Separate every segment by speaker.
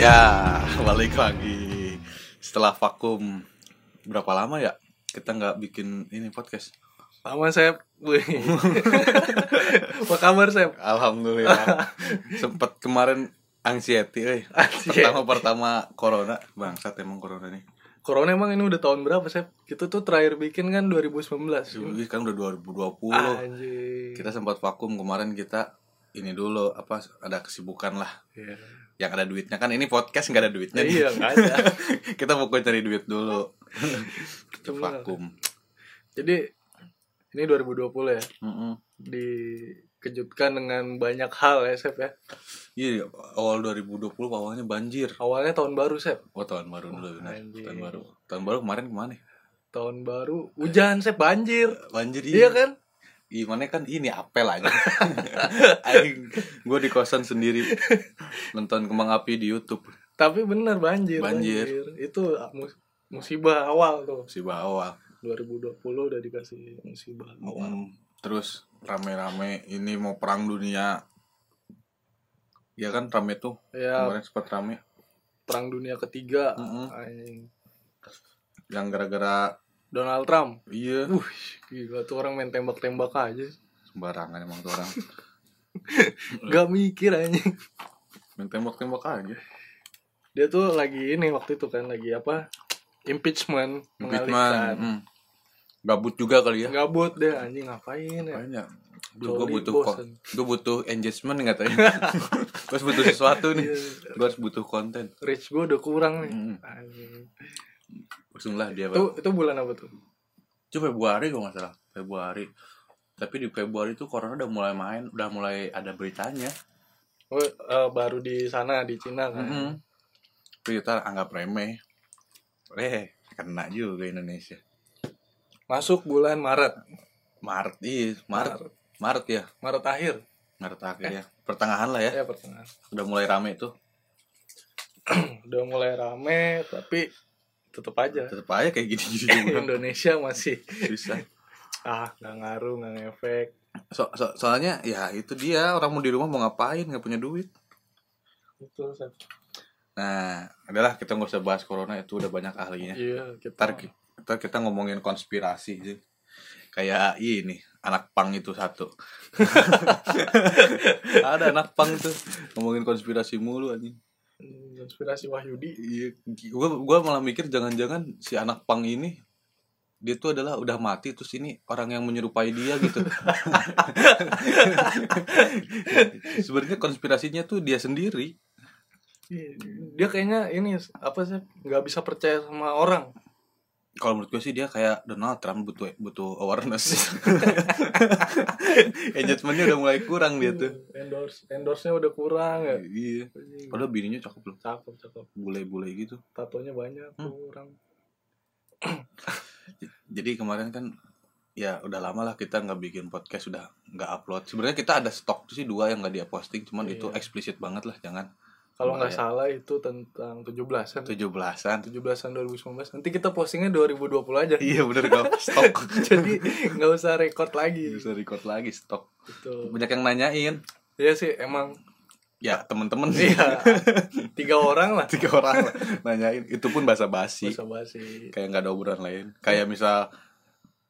Speaker 1: Ya, balik lagi setelah vakum berapa lama ya kita nggak bikin ini podcast
Speaker 2: Lama Sep Wih. Apa kabar Sep?
Speaker 1: alhamdulillah sempet kemarin anxiety eh.
Speaker 2: Anxiety.
Speaker 1: pertama pertama corona bangsat emang corona nih
Speaker 2: Corona emang ini udah tahun berapa Sep? Kita tuh terakhir bikin kan 2019
Speaker 1: Ini kan udah 2020
Speaker 2: Anjir
Speaker 1: kita sempat vakum kemarin kita ini dulu apa ada kesibukan lah
Speaker 2: Iya.
Speaker 1: yang ada duitnya kan ini podcast nggak ada duitnya nih.
Speaker 2: Iya nggak ada
Speaker 1: kita fokus cari duit dulu
Speaker 2: Bener.
Speaker 1: vakum
Speaker 2: Jadi ini 2020 ya
Speaker 1: Mm-mm.
Speaker 2: Dikejutkan dengan banyak hal ya Sep ya
Speaker 1: Iya, awal 2020 awalnya banjir.
Speaker 2: Awalnya tahun baru Sep
Speaker 1: Oh, tahun baru dulu benar.
Speaker 2: anjing.
Speaker 1: Tahun baru. Tahun baru kemarin kemana? ya?
Speaker 2: Tahun baru hujan Sep banjir
Speaker 1: Banjir
Speaker 2: Iya kan?
Speaker 1: Gimana kan ini apel aja. Aing gue di kosan sendiri nonton kembang api di YouTube
Speaker 2: Tapi bener banjir
Speaker 1: Banjir.
Speaker 2: Itu ah, mus- musibah awal tuh
Speaker 1: si bawah.
Speaker 2: 2020 udah dikasih musibah awal
Speaker 1: Mm, Terus rame-rame ini mau perang dunia. Ya kan rame tuh
Speaker 2: Ya
Speaker 1: kemarin sempat rame
Speaker 2: perang dunia ketiga
Speaker 1: Mm-mm.
Speaker 2: anjing.
Speaker 1: yang gara-gara
Speaker 2: Donald Trump
Speaker 1: iya
Speaker 2: uh gila tuh orang main tembak-tembak aja
Speaker 1: sembarangan emang tuh orang
Speaker 2: gak mikir anjing
Speaker 1: main tembak-tembak aja
Speaker 2: dia tuh lagi ini waktu itu kan lagi apa impeachment,
Speaker 1: Impeachment.
Speaker 2: mengalihkan
Speaker 1: mm. Gabut juga kali ya.
Speaker 2: gabut deh anjing ngapain ya
Speaker 1: Banyak.
Speaker 2: Coli
Speaker 1: Gue butuh
Speaker 2: bosen.
Speaker 1: gue butuh engagement katanya. gue harus butuh sesuatu nih.
Speaker 2: Iya.
Speaker 1: Gue harus butuh konten.
Speaker 2: reach gue udah kurang nih
Speaker 1: Mm.
Speaker 2: anjing
Speaker 1: Langsunglah dia.
Speaker 2: itu
Speaker 1: Pak.
Speaker 2: itu bulan apa tuh
Speaker 1: Itu Februari kalau nggak salah. Februari. Tapi di Februari tuh corona udah mulai main, udah mulai ada beritanya.
Speaker 2: Oh, eh, baru di sana di Cina kan
Speaker 1: Mm-mm. Tapi kita anggap remeh. Eh, kena juga Indonesia.
Speaker 2: masuk bulan Maret
Speaker 1: Maret, iya, Maret. Maret ya,
Speaker 2: Maret akhir
Speaker 1: Maret
Speaker 2: Eh.
Speaker 1: akhir ya. Pertengahan lah ya,
Speaker 2: ya pertengahan
Speaker 1: udah mulai rame tuh.
Speaker 2: udah mulai rame tapi tetep aja
Speaker 1: Tetep aja kayak gini-gini juga.
Speaker 2: Indonesia masih
Speaker 1: Susah.
Speaker 2: ah nggak ngaruh nggak ngefek
Speaker 1: So, so- soalnya ya itu dia orang mau di rumah mau ngapain nggak punya duit.
Speaker 2: itu Sep.
Speaker 1: Nah, adalah kita nggak usah bahas corona itu udah banyak ahlinya.
Speaker 2: iya kita
Speaker 1: Ntar, ki- ntar kita ngomongin konspirasi aja. Kayak ini anak pang itu satu. Ada anak pang tuh ngomongin konspirasi mulu anjing.
Speaker 2: Hmm, konspirasi Wahyudi
Speaker 1: Iya, gua gua malah mikir jangan-jangan si anak pang ini dia tuh adalah udah mati terus ini orang yang menyerupai dia gitu. Sebenarnya konspirasinya tuh dia sendiri.
Speaker 2: Iya, dia kayaknya ini apa sih nggak bisa percaya sama orang
Speaker 1: Kalau menurut gue sih dia kayak Donald Trump butuh butuh awareness. Engagementnya udah mulai kurang dia Iya, tuh.
Speaker 2: endorse endorse nya udah kurang ya
Speaker 1: Iya. Padahal bininya cakep loh,
Speaker 2: cakep cakep
Speaker 1: bule-bule gitu.
Speaker 2: tatonya banyak
Speaker 1: Hmm.
Speaker 2: kurang
Speaker 1: Jadi kemarin kan ya udah lama lah kita nggak bikin podcast udah nggak upload. Sebenarnya kita ada stok tuh sih dua yang nggak dia posting, cuman itu
Speaker 2: Iya.
Speaker 1: eksplisit banget lah jangan.
Speaker 2: kalau nggak
Speaker 1: Bahaya.
Speaker 2: salah itu tentang 17-an
Speaker 1: 17-an.
Speaker 2: 17-an 2019 nanti kita postingnya 2020 aja Oh,
Speaker 1: Iya bener gak stok.
Speaker 2: jadi nggak usah record lagi
Speaker 1: Bisa record lagi stok.
Speaker 2: gitu
Speaker 1: Banyak yang nanyain.
Speaker 2: Iya sih emang
Speaker 1: Ya temen-temen sih
Speaker 2: iya tiga orang lah
Speaker 1: tiga orang lah nanyain. Itu pun bahasa basi.
Speaker 2: Masa basi
Speaker 1: Kayak nggak ada obrolan lain. Kayak misal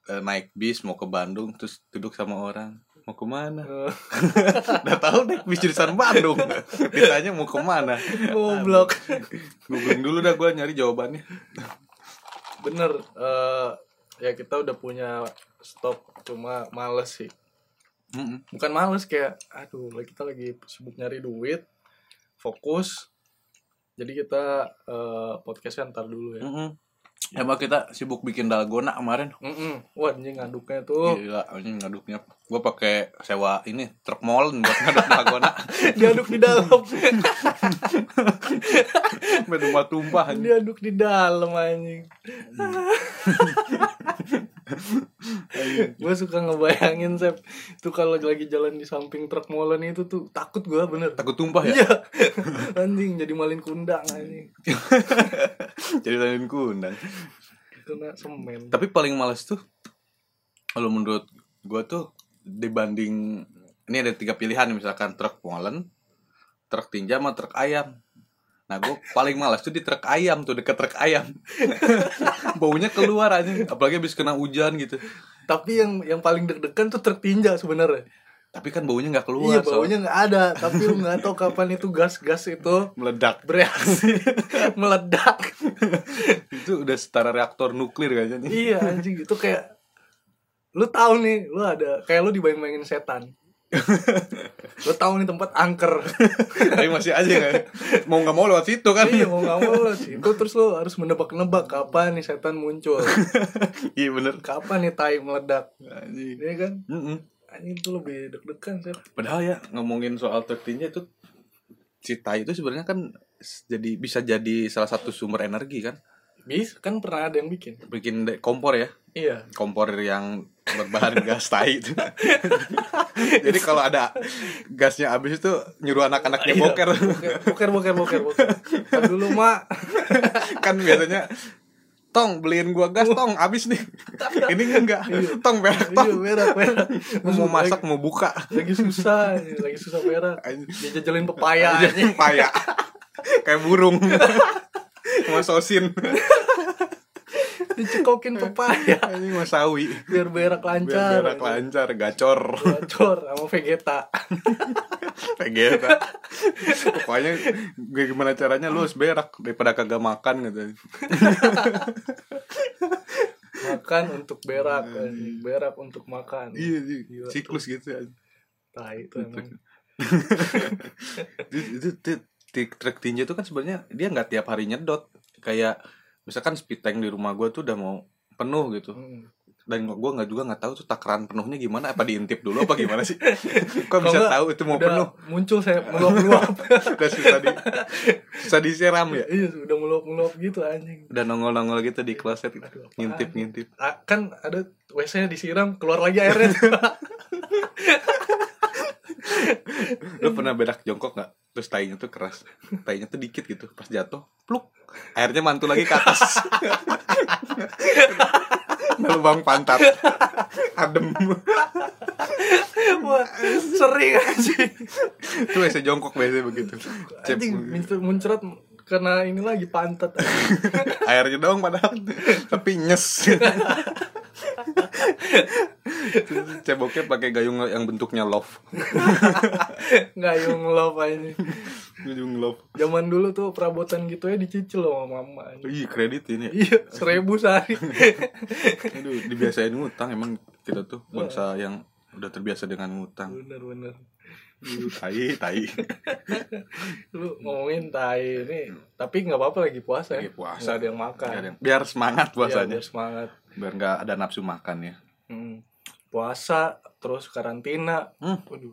Speaker 1: eh, naik bis mau ke Bandung terus duduk sama orang mau kemana?
Speaker 2: Eh,
Speaker 1: Udah tahu deh bis jurusan Bandung. Ditanya mau kemana?
Speaker 2: Goblok.
Speaker 1: Googling dulu dah gue nyari jawabannya.
Speaker 2: Bener. eh, ya kita udah punya stok cuma males sih.
Speaker 1: Mm-mm.
Speaker 2: Bukan males kayak aduh kita lagi sibuk nyari duit, fokus. Jadi kita eh, podcastnya ntar dulu ya.
Speaker 1: Mm-mm. Emang kita sibuk bikin dalgona kemarin.
Speaker 2: Mm-mm. Wah anjing ngaduknya tuh
Speaker 1: Gila, anjing ngaduknya. Gue pakai sewa ini truk molen buat ngaduk dalgona.
Speaker 2: diaduk di dalam,
Speaker 1: Sampai rumah tumpah. anjing.
Speaker 2: diaduk di dalam anjing.
Speaker 1: Iya.
Speaker 2: gue suka ngebayangin Sep tuh kalau lagi jalan di samping truk molen itu tuh takut gue bener.
Speaker 1: Takut tumpah ya?
Speaker 2: Iya. anjing jadi malin kundang anjing.
Speaker 1: Jadi lain kundang.
Speaker 2: Kena semen.
Speaker 1: Tapi paling males tuh, kalau menurut gue tuh dibanding ini ada tiga pilihan misalkan truk molen, truk tinja sama truk ayam. Nah, gue paling malas tuh di truk ayam tuh, deket truk ayam. Baunya keluar aja, apalagi habis kena hujan gitu.
Speaker 2: Tapi yang yang paling deg-degan tuh tertinja sebenarnya.
Speaker 1: Tapi kan baunya nggak keluar.
Speaker 2: Iya baunya nggak ada, tapi lu nggak tahu kapan itu gas-gas itu
Speaker 1: soalnya. meledak.
Speaker 2: bereaksi meledak.
Speaker 1: Itu udah setara reaktor nuklir kayaknya.
Speaker 2: iya anjing itu kayak lu tahu nih lu ada kayak lu dibayang-bayangin setan. lu tahu nih tempat angker.
Speaker 1: Tapi masih aja kan. Mau nggak mau lewat situ kan.
Speaker 2: iya mau nggak mau lu sih. Itu terus lu harus menebak-nebak kapan nih setan muncul,
Speaker 1: Iya bener.
Speaker 2: kapan nih tai meledak.
Speaker 1: Anjing.
Speaker 2: Iya kan?
Speaker 1: Mm-mm.
Speaker 2: Anjing itu lebih deg-degan sih.
Speaker 1: Padahal ya ngomongin soal tertinja itu si tai itu sebenarnya kan s- jadi bisa jadi salah satu sumber energi kan.
Speaker 2: Bis kan pernah ada yang bikin.
Speaker 1: Bikin de- kompor ya,
Speaker 2: Iya.
Speaker 1: kompor yang berbahan gas tai itu. jadi kalau ada gasnya habis itu nyuruh anak-anaknya
Speaker 2: Iya,
Speaker 1: boker.
Speaker 2: Boker boker boker boker. Ntar dulu mak.
Speaker 1: kan biasanya Tong beliin gua gas tong habis nih. Ini enggak. Tong berak
Speaker 2: Uh. Iya
Speaker 1: tong.
Speaker 2: merah merah.
Speaker 1: Mau masak mau buka.
Speaker 2: lagi susah ini, lagi susah merah
Speaker 1: Anjing.
Speaker 2: dia jajalin pepaya anjing.
Speaker 1: Anjing paya. Kayak burung. Sama sosin.
Speaker 2: dicekokin pepaya
Speaker 1: Anjing sama sawi.
Speaker 2: biar berak
Speaker 1: Biar
Speaker 2: lancar
Speaker 1: berak lancar, gacor,
Speaker 2: Gacor sama vegeta
Speaker 1: vegeta. Pokoknya gue gimana caranya lu harus berak daripada kagak makan gitu.
Speaker 2: makan untuk berak anjing. berak untuk makan
Speaker 1: Iya, iya.
Speaker 2: Gila.
Speaker 1: siklus gitu.
Speaker 2: Tai itu emang
Speaker 1: Itu, Gitu, itu, itu, ti- truk tinja itu kan sebenarnya dia nggak tiap hari nyedot. Kayak misalkan speed tank di rumah gue tuh udah mau penuh gitu
Speaker 2: Mm.
Speaker 1: dan gue nggak juga nggak tahu tuh takaran penuhnya gimana apa diintip dulu apa gimana sih kok
Speaker 2: Kalau
Speaker 1: bisa
Speaker 2: nggak,
Speaker 1: tahu itu mau
Speaker 2: udah
Speaker 1: penuh
Speaker 2: muncul saya meluap-luap
Speaker 1: udah susah di susah disiram ya
Speaker 2: iya udah meluap-meluap gitu anjing
Speaker 1: udah nongol-nongol gitu di kloset gitu.
Speaker 2: Aduh, apaan?
Speaker 1: ngintip-ngintip
Speaker 2: Ah, kan ada WC nya disiram keluar lagi airnya
Speaker 1: lu pernah bedak jongkok nggak terus tainya tuh keras tainya tuh dikit gitu pas jatuh pluk airnya mantul lagi ke atas lubang pantat adem
Speaker 2: Wah, sering anjing
Speaker 1: itu wc jongkok biasanya begitu Cep,
Speaker 2: anjing muncul- muncrat karena ini lagi pantat anjing.
Speaker 1: airnya doang padahal tapi nyes ceboknya pakai gayung yang bentuknya love
Speaker 2: nggak yang meluap anjing
Speaker 1: gayung love
Speaker 2: Zaman dulu tuh perabotan gitu ya dicicil sama mama. anjing.
Speaker 1: Ih kreditin ya
Speaker 2: Iya, seribu sehari.
Speaker 1: Aduh, dibiasain ngutang emang kita tuh bangsa yang udah terbiasa dengan ngutang.
Speaker 2: bener bener.
Speaker 1: Aduh, tai, tai.
Speaker 2: Lu ngomongin tai ini, tapi nggak apa-apa lagi puasa. ya.
Speaker 1: Lagi puasa.
Speaker 2: Nggak ada yang makan.
Speaker 1: Biar- Biar semangat
Speaker 2: Iya,
Speaker 1: puasanya.
Speaker 2: biar semangat.
Speaker 1: Biar nggak ada nafsu makan ya.
Speaker 2: Hmm. Puasa, terus karantina.
Speaker 1: Hmm.
Speaker 2: Waduh.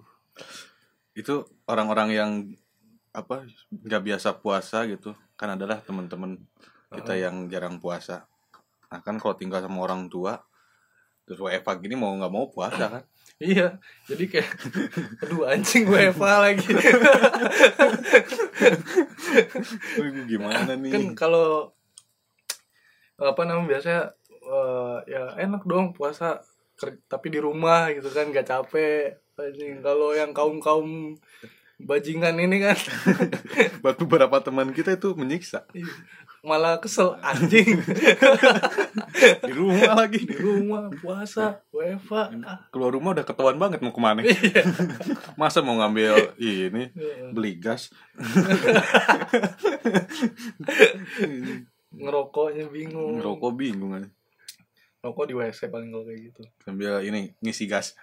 Speaker 1: Itu orang-orang yang apa nggak biasa puasa gitu kan adalah teman-teman kita
Speaker 2: Heeh.
Speaker 1: yang jarang puasa. Nah kan kalau tinggal sama orang tua terus WFA gini mau nggak mau puasa kan
Speaker 2: Iya, jadi kayak, aduh anjing gue Eva lagi.
Speaker 1: Aduh, gimana nih
Speaker 2: kan kalau apa namanya biasanya eh, ya enak dong puasa ker- tapi di rumah gitu kan gak capek anjing kalau yang kaum kaum bajingan ini kan
Speaker 1: buat beberapa teman kita itu menyiksa
Speaker 2: malah kesel anjing
Speaker 1: di rumah
Speaker 2: di
Speaker 1: lagi
Speaker 2: rumah puasa WFA ah.
Speaker 1: keluar rumah udah ketahuan banget mau kemana
Speaker 2: Iya.
Speaker 1: masa mau ngambil ini beli gas
Speaker 2: ngerokoknya bingung
Speaker 1: ngerokok bingung aja
Speaker 2: rokok di WC paling kalau kayak gitu
Speaker 1: sambil ini ngisi gas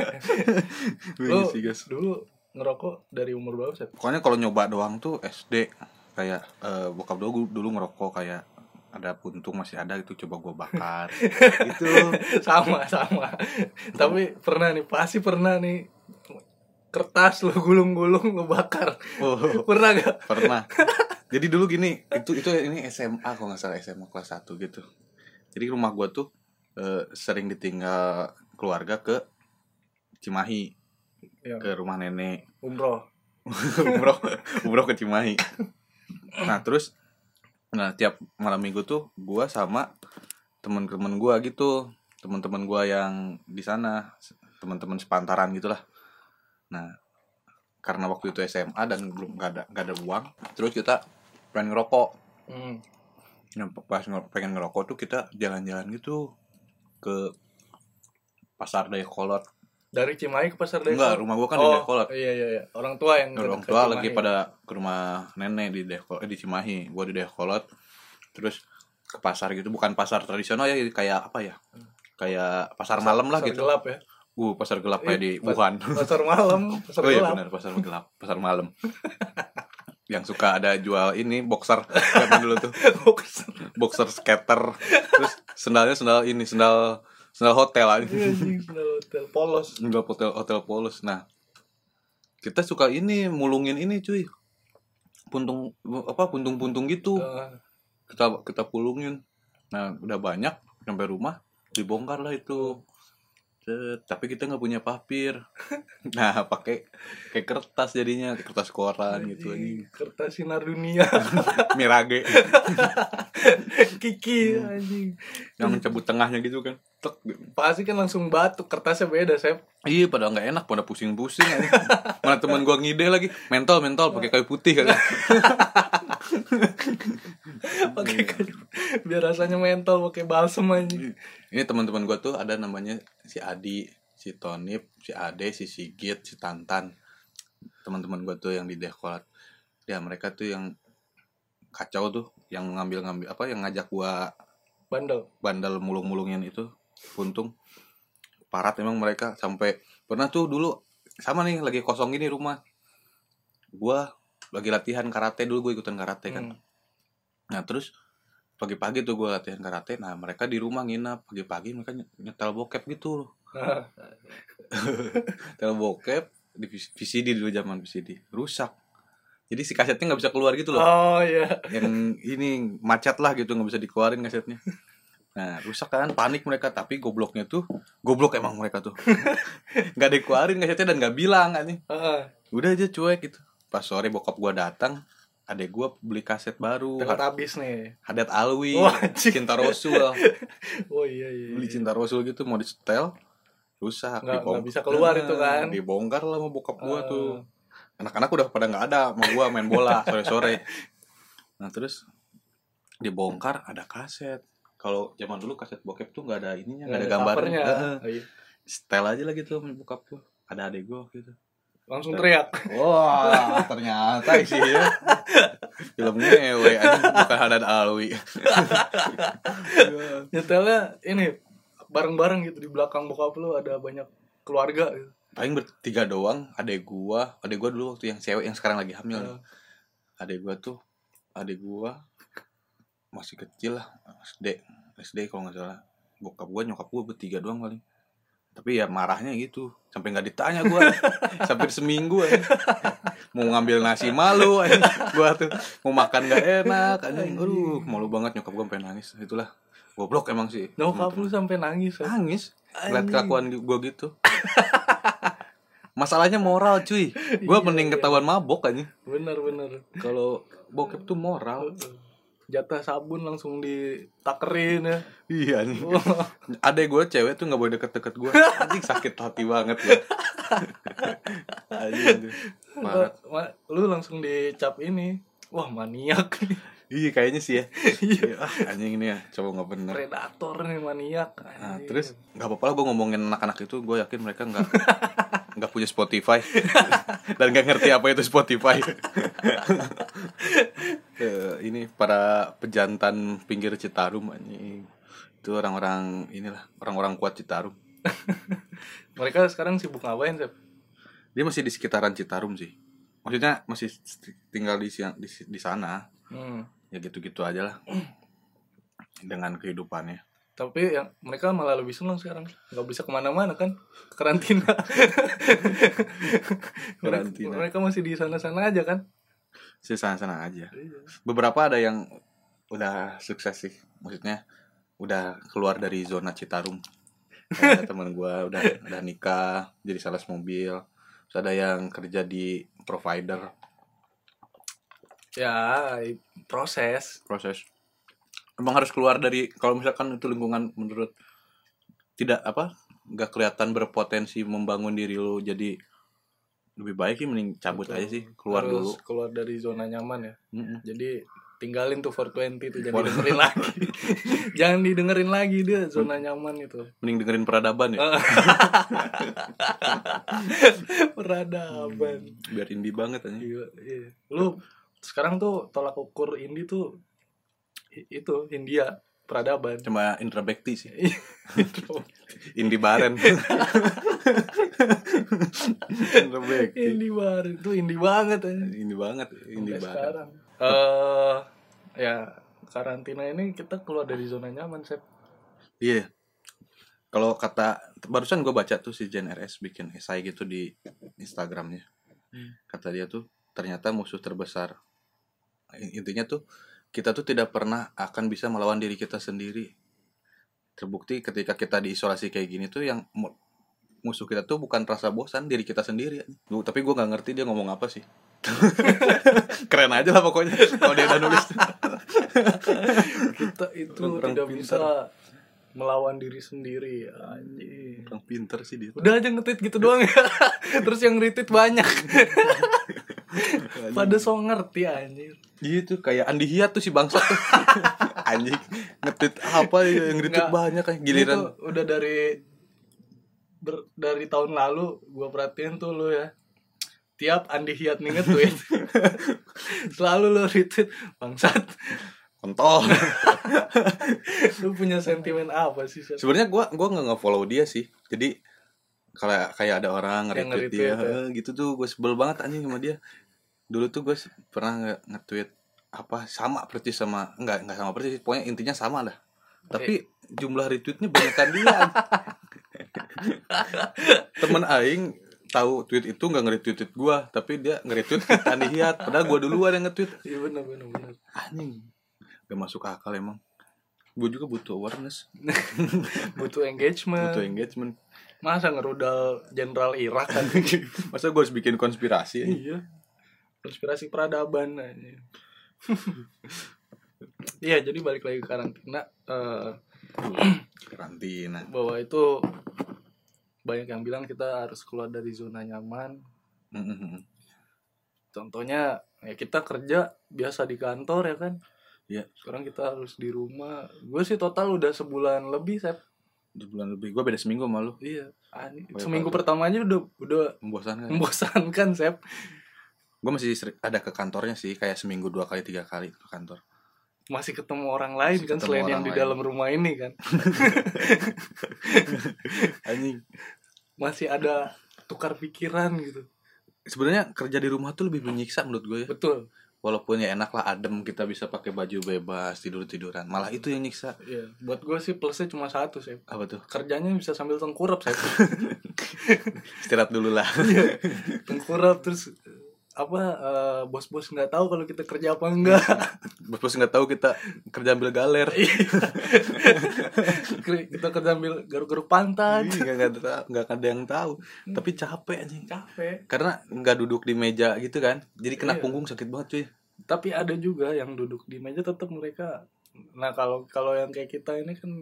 Speaker 2: Iya.
Speaker 1: ngisi gas
Speaker 2: dulu ngerokok dari umur berapa sih
Speaker 1: pokoknya kalau nyoba doang tuh SD kayak eh, bokap dulu dulu ngerokok kayak ada puntung masih ada itu coba gua bakar gitu
Speaker 2: sama sama tapi pernah nih pasti pernah nih kertas lo gulung-gulung lo bakar
Speaker 1: oh,
Speaker 2: pernah gak
Speaker 1: pernah jadi dulu gini itu itu ini SMA kalau nggak salah SMA kelas 1 gitu jadi rumah gua tuh eh, sering ditinggal keluarga ke Cimahi
Speaker 2: Ya.
Speaker 1: ke rumah nenek
Speaker 2: umroh
Speaker 1: umroh umroh ke Cimahi nah terus nah tiap malam minggu tuh gua sama teman-teman gua gitu teman-teman gua yang di sana teman-teman sepantaran gitulah nah karena waktu itu SMA dan belum gak ada gak ada uang terus kita pengen ngerokok
Speaker 2: Hmm.
Speaker 1: Nah, pas nge- pengen ngerokok tuh kita jalan-jalan gitu ke pasar Dayakolot
Speaker 2: Dari Cimahi ke Pasar Desa.
Speaker 1: enggak rumah gua kan di Dayakolot
Speaker 2: Iya iya iya. Orang tua yang
Speaker 1: Nah, orang
Speaker 2: ke
Speaker 1: tua
Speaker 2: Cimahi.
Speaker 1: lagi pada ke rumah nenek di Deko, eh, di Cimahi. Gua di Dekolot. Terus ke pasar gitu, bukan pasar tradisional ya, kayak apa ya? Kayak pasar, malam lah
Speaker 2: pasar
Speaker 1: gitu.
Speaker 2: gelap ya.
Speaker 1: Uh, pasar gelap kayak
Speaker 2: Iya,
Speaker 1: di
Speaker 2: pas-
Speaker 1: Wuhan.
Speaker 2: Pasar malam, pasar
Speaker 1: oh iya
Speaker 2: gelap.
Speaker 1: benar, pasar gelap, pasar malam. yang suka ada jual ini boxer zaman dulu tuh
Speaker 2: Boxer.
Speaker 1: boxer skater terus sendalnya sendal ini sendal sendal hotel aja
Speaker 2: Iya, anjing, sendal hotel polos.
Speaker 1: Enggak hotel hotel polos. Nah, kita suka ini mulungin ini cuy. Puntung apa puntung-puntung gitu.
Speaker 2: Ah,
Speaker 1: Kita kita pulungin. Nah, udah banyak sampai rumah dibongkar lah itu. Cet, tapi kita nggak punya papir. Nah, pakai kayak kertas jadinya, kayak kertas koran gitu
Speaker 2: anjing,
Speaker 1: anjing.
Speaker 2: Kertas sinar dunia.
Speaker 1: Mirage
Speaker 2: Kiki
Speaker 1: Hmm.
Speaker 2: anjing.
Speaker 1: yang mencabut tengahnya gitu kan. Tek. gitu.
Speaker 2: Pasti kan langsung batuk, kertasnya beda, Sep.
Speaker 1: Iya, padahal nggak enak, pada pusing-pusing. anjing. Mana teman gua ngide lagi, mentol mentol pakai kayu putih kan. Iya.
Speaker 2: Pakai kayu. Biar rasanya mentol pakai balsem anjing.
Speaker 1: Ini teman-teman gue tuh ada namanya si Adi, si Tonip, si Ade, si Sigit, si Tantan. Teman-teman gue tuh yang di Dekolat. Ya mereka tuh yang kacau tuh, yang ngambil-ngambil apa yang ngajak gua
Speaker 2: Bandel.
Speaker 1: bandel mulung-mulungin itu. Untung parat emang mereka sampai pernah tuh dulu sama nih lagi kosong gini rumah. Gua lagi latihan karate dulu gue ikutan karate kan.
Speaker 2: Hmm.
Speaker 1: Nah terus pagi-pagi tuh gue latihan karate. Nah mereka di rumah nginap pagi-pagi mereka ny- nyetel bokep gitu.
Speaker 2: Nah,
Speaker 1: Nyetel bokep di VC- VCD dulu zaman VCD rusak. Jadi si kasetnya nggak bisa keluar gitu loh.
Speaker 2: Oh iya.
Speaker 1: Yang ini macet lah gitu nggak bisa dikeluarin kasetnya. Nah rusak kan panik mereka tapi gobloknya tuh goblok emang mereka tuh nggak dikeluarin kasetnya dan nggak bilang anjing.
Speaker 2: Ah,
Speaker 1: Udah aja cuek gitu. Pas sore bokap gue datang adek gue beli kaset baru
Speaker 2: Dekat habis nih.
Speaker 1: Hadat Alwi,
Speaker 2: Wah, anjing.
Speaker 1: Cinta Rosul
Speaker 2: Oh iya iya.
Speaker 1: beli cinta rasul gitu mau di setel rusak
Speaker 2: Nggak-
Speaker 1: dibongkar.
Speaker 2: nggak bisa keluar itu kan.
Speaker 1: dibongkar lah sama bokap gua
Speaker 2: Ah.
Speaker 1: tuh anak-anak udah pada nggak ada sama gua main bola sore-sore nah terus dibongkar ada kaset kalau zaman dulu kaset bokep tuh nggak ada ininya nggak ada gambarnya Heeh.
Speaker 2: iya, Oh, iya.
Speaker 1: setel aja lah gitu sama bokap gua ada adik gua waktu itu
Speaker 2: Langsung teriak.
Speaker 1: wah ternyata isinya film ngewe anjing, bukan Haddad Alwi
Speaker 2: nyetelnya ini bareng-bareng gitu di belakang bokap lu ada banyak keluarga gitu.
Speaker 1: paling bertiga doang adek gua adek gua dulu waktu yang cewek yang sekarang lagi hamil
Speaker 2: Ah,
Speaker 1: nih. adek gua tuh adek gua masih kecil lah SD SD kalau nggak salah bokap gua nyokap gua bertiga doang paling tapi ya marahnya gitu sampai nggak ditanya gua sampai seminggu aja. mau ngambil nasi malu aja. gua tuh mau makan nggak enak anjing aduh malu banget nyokap gua sampai nangis itulah goblok emang sih
Speaker 2: Nyokap lu sampai nangis ya.
Speaker 1: nangis ngeliat
Speaker 2: Anjing.
Speaker 1: kelakuan gue gitu masalahnya moral cuy gue
Speaker 2: Iya,
Speaker 1: mending
Speaker 2: iya.
Speaker 1: ketahuan mabok aja
Speaker 2: Bener bener.
Speaker 1: kalau bokep tuh moral
Speaker 2: Jatah sabun langsung ditakerin ya.
Speaker 1: iya nih
Speaker 2: Wah,
Speaker 1: ada gue cewek tuh nggak boleh deket-deket gue anjing sakit hati banget ya anjing tuh. Parah.
Speaker 2: ma- lu langsung dicap ini. Wah maniak nih.
Speaker 1: iya kayaknya sih ya Iya, ah, anjing ini ya coba nggak bener
Speaker 2: Predator nih maniak.
Speaker 1: Nah, terus nggak apa-apa lah gue ngomongin anak-anak itu gue yakin mereka nggak nggak punya Spotify dan nggak ngerti apa itu Spotify. Eh, ini para pejantan pinggir Citarum anjing. Itu orang-orang inilah orang-orang kuat Citarum.
Speaker 2: Mereka sekarang sibuk ngapain sih?
Speaker 1: Dia masih di sekitaran Citarum sih. Maksudnya masih st- tinggal di siang- di, si- di sana
Speaker 2: Hmm.
Speaker 1: ya gitu-gitu aja lah dengan kehidupannya.
Speaker 2: Tapi yang mereka malah lebih senang sekarang nggak bisa kemana-mana kan karantina.
Speaker 1: Karantina.
Speaker 2: Mereka masih di sana-sana aja kan.
Speaker 1: Sih sana-sana aja.
Speaker 2: Iya.
Speaker 1: beberapa ada yang udah sukses sih maksudnya udah keluar dari zona Citarum ada teman gua udah udah nikah jadi sales mobil terus ada yang kerja di provider
Speaker 2: Ya i- proses.
Speaker 1: proses emang harus keluar dari kalau misalkan itu lingkungan menurut tidak apa nggak kelihatan berpotensi membangun diri lu jadi lebih baik sih mending cabut
Speaker 2: Betul.
Speaker 1: aja sih keluar
Speaker 2: Harus
Speaker 1: dulu
Speaker 2: keluar dari zona nyaman ya
Speaker 1: Mm-mm.
Speaker 2: jadi tinggalin tuh 420 tuh jangan
Speaker 1: Waduh.
Speaker 2: didengerin lagi jangan didengerin lagi dia zona nyaman itu
Speaker 1: mending dengerin peradaban ya
Speaker 2: peradaban
Speaker 1: biar indie banget aja
Speaker 2: Gila, iya. lu sekarang tuh tolak ukur indie tuh i- itu India peradaban
Speaker 1: cuma intrabekti sih indie baren intrabekti
Speaker 2: indie banget itu indie banget aja.
Speaker 1: indie banget indie
Speaker 2: Sampai
Speaker 1: baren
Speaker 2: sekarang eh ya karantina ini kita keluar dari zona nyaman Sep.
Speaker 1: Iya. Kalau kata barusan gue baca tuh si Jen RS bikin esai gitu di Instagramnya.
Speaker 2: Hmm.
Speaker 1: Kata dia tuh ternyata musuh terbesar. In- Intinya tuh kita tuh tidak pernah akan bisa melawan diri kita sendiri. Terbukti ketika kita diisolasi kayak gini tuh yang mu- musuh kita tuh bukan rasa bosan diri kita sendiri. Duh, tapi gue nggak ngerti dia ngomong apa sih. Keren aja lah pokoknya kalau dia udah nulis.
Speaker 2: kita itu
Speaker 1: Orang-orang
Speaker 2: tidak
Speaker 1: pintar.
Speaker 2: bisa melawan diri sendiri anjing
Speaker 1: Orang pinter sih dia.
Speaker 2: udah aja ngetit gitu doang ya terus yang retweet banyak pada so ngerti anjir
Speaker 1: Gitu kayak Andi Hiat tuh si bangsa tuh. Anjing ngetit apa ya, yang ngetit
Speaker 2: Nggak.
Speaker 1: banyak kan
Speaker 2: Giliran.
Speaker 1: giliran
Speaker 2: udah dari ber- dari tahun lalu gua perhatiin tuh lu ya tiap Andi Hiat nih nge-tweet selalu lu retweet bangsat
Speaker 1: kontol.
Speaker 2: lu punya sentimen apa sih Seth?
Speaker 1: Sebenarnya gua gua nggak nge-follow dia sih. Jadi kalau kayak ada orang nge-retweet
Speaker 2: Yang nge-retweet
Speaker 1: dia
Speaker 2: ya.
Speaker 1: eh, gitu tuh gue sebel banget anjing sama dia. Dulu tuh gue pernah nge- nge-tweet apa sama persis sama enggak enggak sama persis sih, pokoknya intinya sama lah. Tapi jumlah retweetnya banyakan dia. Temen aing tahu tweet itu nggak nge-retweet gua, tapi dia nge-retweet kita Hiat. Padahal gua duluan yang nge-tweet.
Speaker 2: iya bener bener bener
Speaker 1: anjing gak masuk akal emang gue juga butuh awareness
Speaker 2: butuh engagement
Speaker 1: butuh engagement
Speaker 2: masa ngerudal jenderal Irak kan
Speaker 1: masa gue harus bikin konspirasi
Speaker 2: iya konspirasi peradaban aja iya jadi balik lagi ke karantina eh,
Speaker 1: karantina
Speaker 2: bahwa itu banyak yang bilang kita harus keluar dari zona nyaman
Speaker 1: Mm-mm.
Speaker 2: contohnya ya kita kerja biasa di kantor ya kan
Speaker 1: Iya.
Speaker 2: sekarang kita harus di rumah gue sih total udah sebulan lebih saya
Speaker 1: Dua bulan lebih gue beda seminggu sama lu
Speaker 2: iya aneh.
Speaker 1: Banyak
Speaker 2: seminggu
Speaker 1: banget.
Speaker 2: pertamanya udah udah
Speaker 1: membosankan
Speaker 2: membosankan Sep
Speaker 1: gue masih seri- ada ke kantornya sih kayak seminggu dua kali tiga kali ke kantor
Speaker 2: masih ketemu orang lain
Speaker 1: Masih
Speaker 2: kan
Speaker 1: ketemu
Speaker 2: selain
Speaker 1: orang
Speaker 2: yang di
Speaker 1: lain.
Speaker 2: dalam rumah ini kan
Speaker 1: anjing
Speaker 2: masih ada tukar pikiran gitu
Speaker 1: sebenarnya kerja di rumah tuh lebih menyiksa menurut gue ya
Speaker 2: betul
Speaker 1: walaupun ya enak lah adem kita bisa pakai baju bebas tidur tiduran malah itu yang nyiksa
Speaker 2: Iya, buat gue sih plusnya cuma satu sih
Speaker 1: apa tuh
Speaker 2: kerjanya bisa sambil tengkurap saya
Speaker 1: istirahat dulu lah
Speaker 2: tengkurap terus apa eh, bos-bos nggak tahu kalau kita kerja apa enggak
Speaker 1: bos nggak tahu kita kerja ambil galer
Speaker 2: kita kerja ambil garuk-garuk pantat
Speaker 1: Iya, nggak nggak ada- nggak ada yang tahu tapi capek anjing
Speaker 2: capek
Speaker 1: karena nggak duduk di meja gitu kan jadi kena
Speaker 2: Iya.
Speaker 1: punggung sakit banget cuy
Speaker 2: tapi ada juga yang duduk di meja tetap mereka nah kalau kalau yang kayak kita ini kan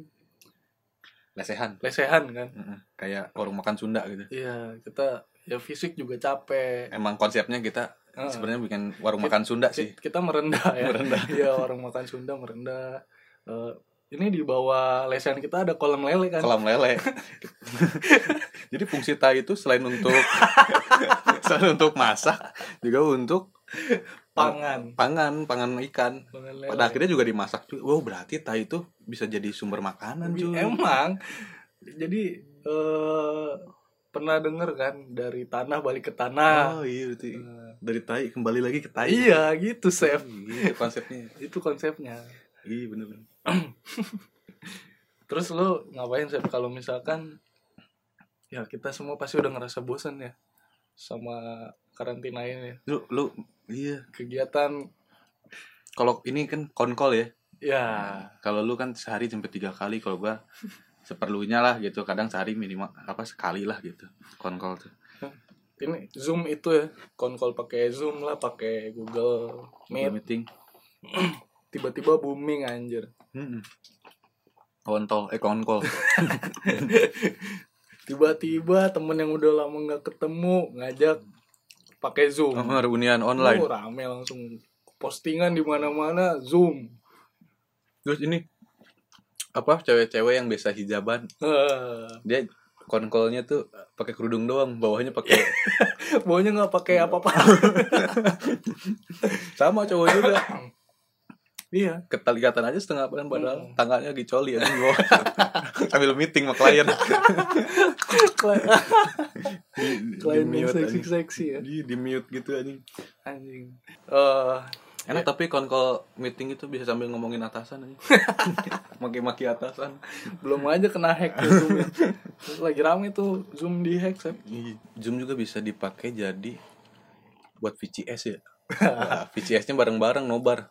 Speaker 1: lesehan
Speaker 2: lesehan kan
Speaker 1: kayak warung makan Sunda gitu
Speaker 2: iya kita ya fisik juga capek
Speaker 1: emang konsepnya kita
Speaker 2: Heeh.
Speaker 1: sebenarnya bikin warung
Speaker 2: Ki-
Speaker 1: makan Sunda
Speaker 2: Ki-
Speaker 1: sih
Speaker 2: kita merendah ya
Speaker 1: Merendah.
Speaker 2: iya orang makan Sunda merendah Eh, ini di bawah lesehan kita ada kolam lele kan
Speaker 1: kolam lele jadi fungsi tai itu selain untuk selain untuk masak juga untuk
Speaker 2: pangan
Speaker 1: pangan pangan ikan
Speaker 2: Kolam lele.
Speaker 1: pada akhirnya juga dimasak cuy wow berarti tai itu bisa jadi sumber makanan
Speaker 2: Tapi
Speaker 1: cuy
Speaker 2: Emang. Jadi eh pernah denger kan dari tanah balik ke
Speaker 1: oh
Speaker 2: tanah.
Speaker 1: iya berarti
Speaker 2: Eh,
Speaker 1: dari tai kembali lagi ke tai
Speaker 2: iya gitu, Chef.
Speaker 1: Gitu konsepnya
Speaker 2: Itu konsepnya.
Speaker 1: Iya bener-bener
Speaker 2: Terus lo ngapain, Chef? Kalau misalkan ya kita semua pasti udah ngerasa bosan ya sama karantina ini.
Speaker 1: Lu, lu Iya
Speaker 2: Kegiatan
Speaker 1: Kalau ini kan konkol ya
Speaker 2: ya
Speaker 1: Kalau lu kan sehari sampai tiga kali Kalau gua seperlunya lah gitu Kadang sehari minimal Apa sekali lah gitu Konkol tuh
Speaker 2: ini Zoom itu ya, konkol pakai Zoom lah, pakai Google
Speaker 1: Gua
Speaker 2: Meet.
Speaker 1: Meeting
Speaker 2: Tiba-tiba booming anjir.
Speaker 1: Mm-mm. Kontol Eh konkol
Speaker 2: tiba-tiba temen yang udah lama nggak ketemu ngajak pakai zoom
Speaker 1: Bener, unian online.
Speaker 2: Oh, rame langsung postingan di mana-mana zoom
Speaker 1: Terus ini apa cewek-cewek yang biasa hijaban,
Speaker 2: Eh,
Speaker 1: dia konkolnya tuh pakai kerudung doang, bawahnya pakai
Speaker 2: baunya nggak pakai apa-apa
Speaker 1: sama cowok juga.
Speaker 2: iya
Speaker 1: Ketalikatan aja setengah badan padahal
Speaker 2: Hmm.
Speaker 1: tangannya gicoli ya di bawah. Sambil meeting sama klien.
Speaker 2: klien
Speaker 1: Di- di
Speaker 2: klien yang
Speaker 1: mute,
Speaker 2: seksi
Speaker 1: anjing.
Speaker 2: seksi ya
Speaker 1: Di, di mute gitu anjing.
Speaker 2: anjing eh
Speaker 1: Enak tapi konkol meeting itu bisa sambil ngomongin atasan anjing. Maki-maki atasan.
Speaker 2: belum aja kena hack tuh zoom ya. lagi rame tuh zoom di hack Sep.
Speaker 1: Iya. Zoom juga bisa dipakai jadi buat VCS ya. Wah, VCS-nya bareng-bareng nobar.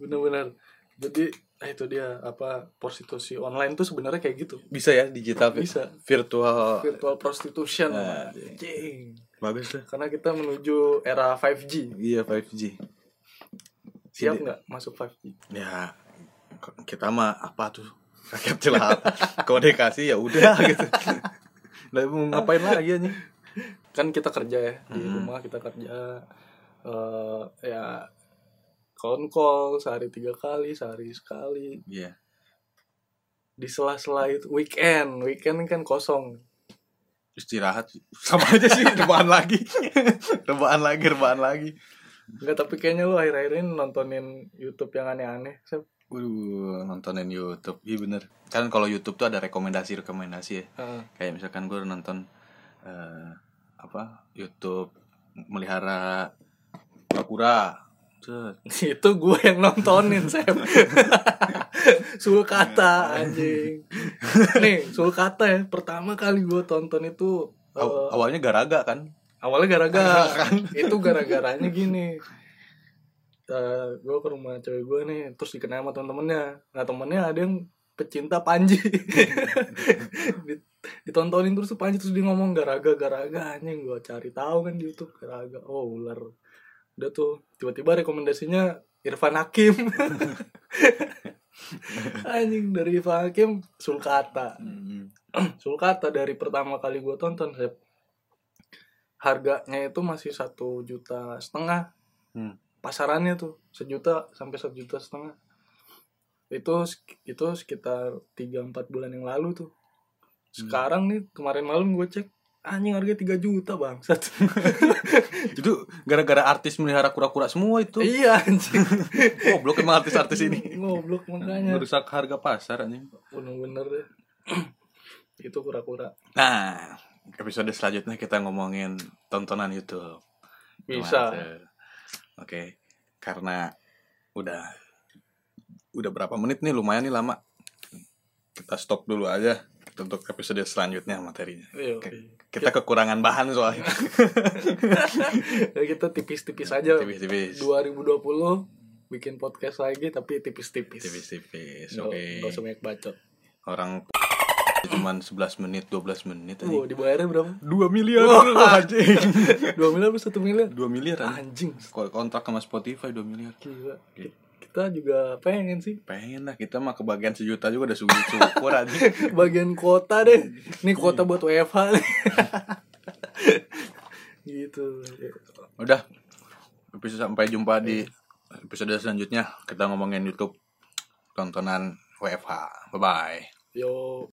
Speaker 2: bener-bener jadi nah itu dia apa prostitusi online tuh sebenarnya kayak gitu
Speaker 1: Bisa ya digital vi-
Speaker 2: Bisa.
Speaker 1: virtual.
Speaker 2: virtual prostitution
Speaker 1: Nah,
Speaker 2: Anjing.
Speaker 1: Bagus ya. tuh.
Speaker 2: karena kita menuju era 5G
Speaker 1: Iya 5G.
Speaker 2: siap
Speaker 1: Jadi-
Speaker 2: nggak masuk 5G
Speaker 1: Ya k- kita mah apa tuh rakyat jelata. Kode kasih ya udah gitu. Lah mau ngapain lagi anjing?
Speaker 2: kan kita kerja ya di
Speaker 1: Hmm.
Speaker 2: rumah kita kerja eh ya konkol sehari tiga kali sehari sekali
Speaker 1: Iya.
Speaker 2: di sela-sela itu weekend weekend kan kosong
Speaker 1: Istirahat sama aja sih rebahan lagi. rebahan lagi, rebahan lagi.
Speaker 2: Enggak tapi kayaknya lu akhir-akhir ini nontonin YouTube yang aneh-aneh Sep.
Speaker 1: Waduh, nontonin YouTube. Iya bener. Kan kalau YouTube tuh ada rekomendasi-rekomendasi ya.
Speaker 2: Heeh.
Speaker 1: Kayak misalkan gue nonton eh, apa YouTube melihara kura-kura. Cet.
Speaker 2: itu gue yang nontonin Sep. sulkata anjing nih sulkata ya pertama kali gue tonton itu eh,
Speaker 1: Aw- awalnya garaga kan?
Speaker 2: awalnya gara-gara itu gara-garanya gini Eh gue ke rumah cewek gue nih terus dikenal sama temen-temennya nah temennya ada yang pecinta Panji Di- ditontonin terus tuh Panji terus dia ngomong garaga garaga anjing gue cari tahu kan di YouTube garaga oh ular udah tuh tiba-tiba rekomendasinya Irfan Hakim anjing dari Irfan Hakim Sulkata Hmm. Sulkata dari pertama kali gue tonton Sep. harganya itu masih satu juta setengah
Speaker 1: Hmm.
Speaker 2: pasarannya tuh sejuta sampai satu juta setengah itu sek- itu sekitar 3-4 bulan yang lalu tuh Hmm. sekarang nih kemarin malam gue cek anjing harga 3 juta bangsat
Speaker 1: Itu gara-gara artis melihara kura-kura semua itu.
Speaker 2: iya anjing
Speaker 1: Goblok emang artis-artis ini.
Speaker 2: ngoblok makanya
Speaker 1: Merusak harga pasar anjing.
Speaker 2: bener-bener deh itu kura-kura
Speaker 1: Nah, episode selanjutnya kita ngomongin tontonan YouTube.
Speaker 2: bisa
Speaker 1: Kemarin tuh. Gitu Oke. Karena udah udah berapa menit nih lumayan nih lama. Kita stop dulu aja untuk episode selanjutnya materinya.
Speaker 2: Iya,
Speaker 1: Oke.
Speaker 2: iya.
Speaker 1: Kita kekurangan bahan soalnya.
Speaker 2: Ya, kita tipis-tipis aja
Speaker 1: Tipis-tipis.
Speaker 2: 2020 bikin podcast lagi tapi tipis-tipis.
Speaker 1: Tipis-tipis.
Speaker 2: Nggak-
Speaker 1: Oke.
Speaker 2: nggak usah banyak bacot.
Speaker 1: Orang cuman 11 menit, 12 menit
Speaker 2: Wow,
Speaker 1: aja.
Speaker 2: dibayarnya berapa?
Speaker 1: 2 miliar
Speaker 2: Wah.
Speaker 1: anjing.
Speaker 2: 2 miliar atau 1 miliar?
Speaker 1: 2 miliar anjing.
Speaker 2: Anjing.
Speaker 1: Ko- kontrak sama Spotify 2 miliar
Speaker 2: Gila.
Speaker 1: Iya.
Speaker 2: Kita juga pengen sih
Speaker 1: pengen lah kita mah kebagian sejuta juga udah sungguh syukur aja
Speaker 2: bagian kota deh. Ini kota buat WFH nih. gitu.
Speaker 1: udah episode sampai jumpa di episode selanjutnya kita ngomongin YouTube tontonan WFH bye bye
Speaker 2: Yo.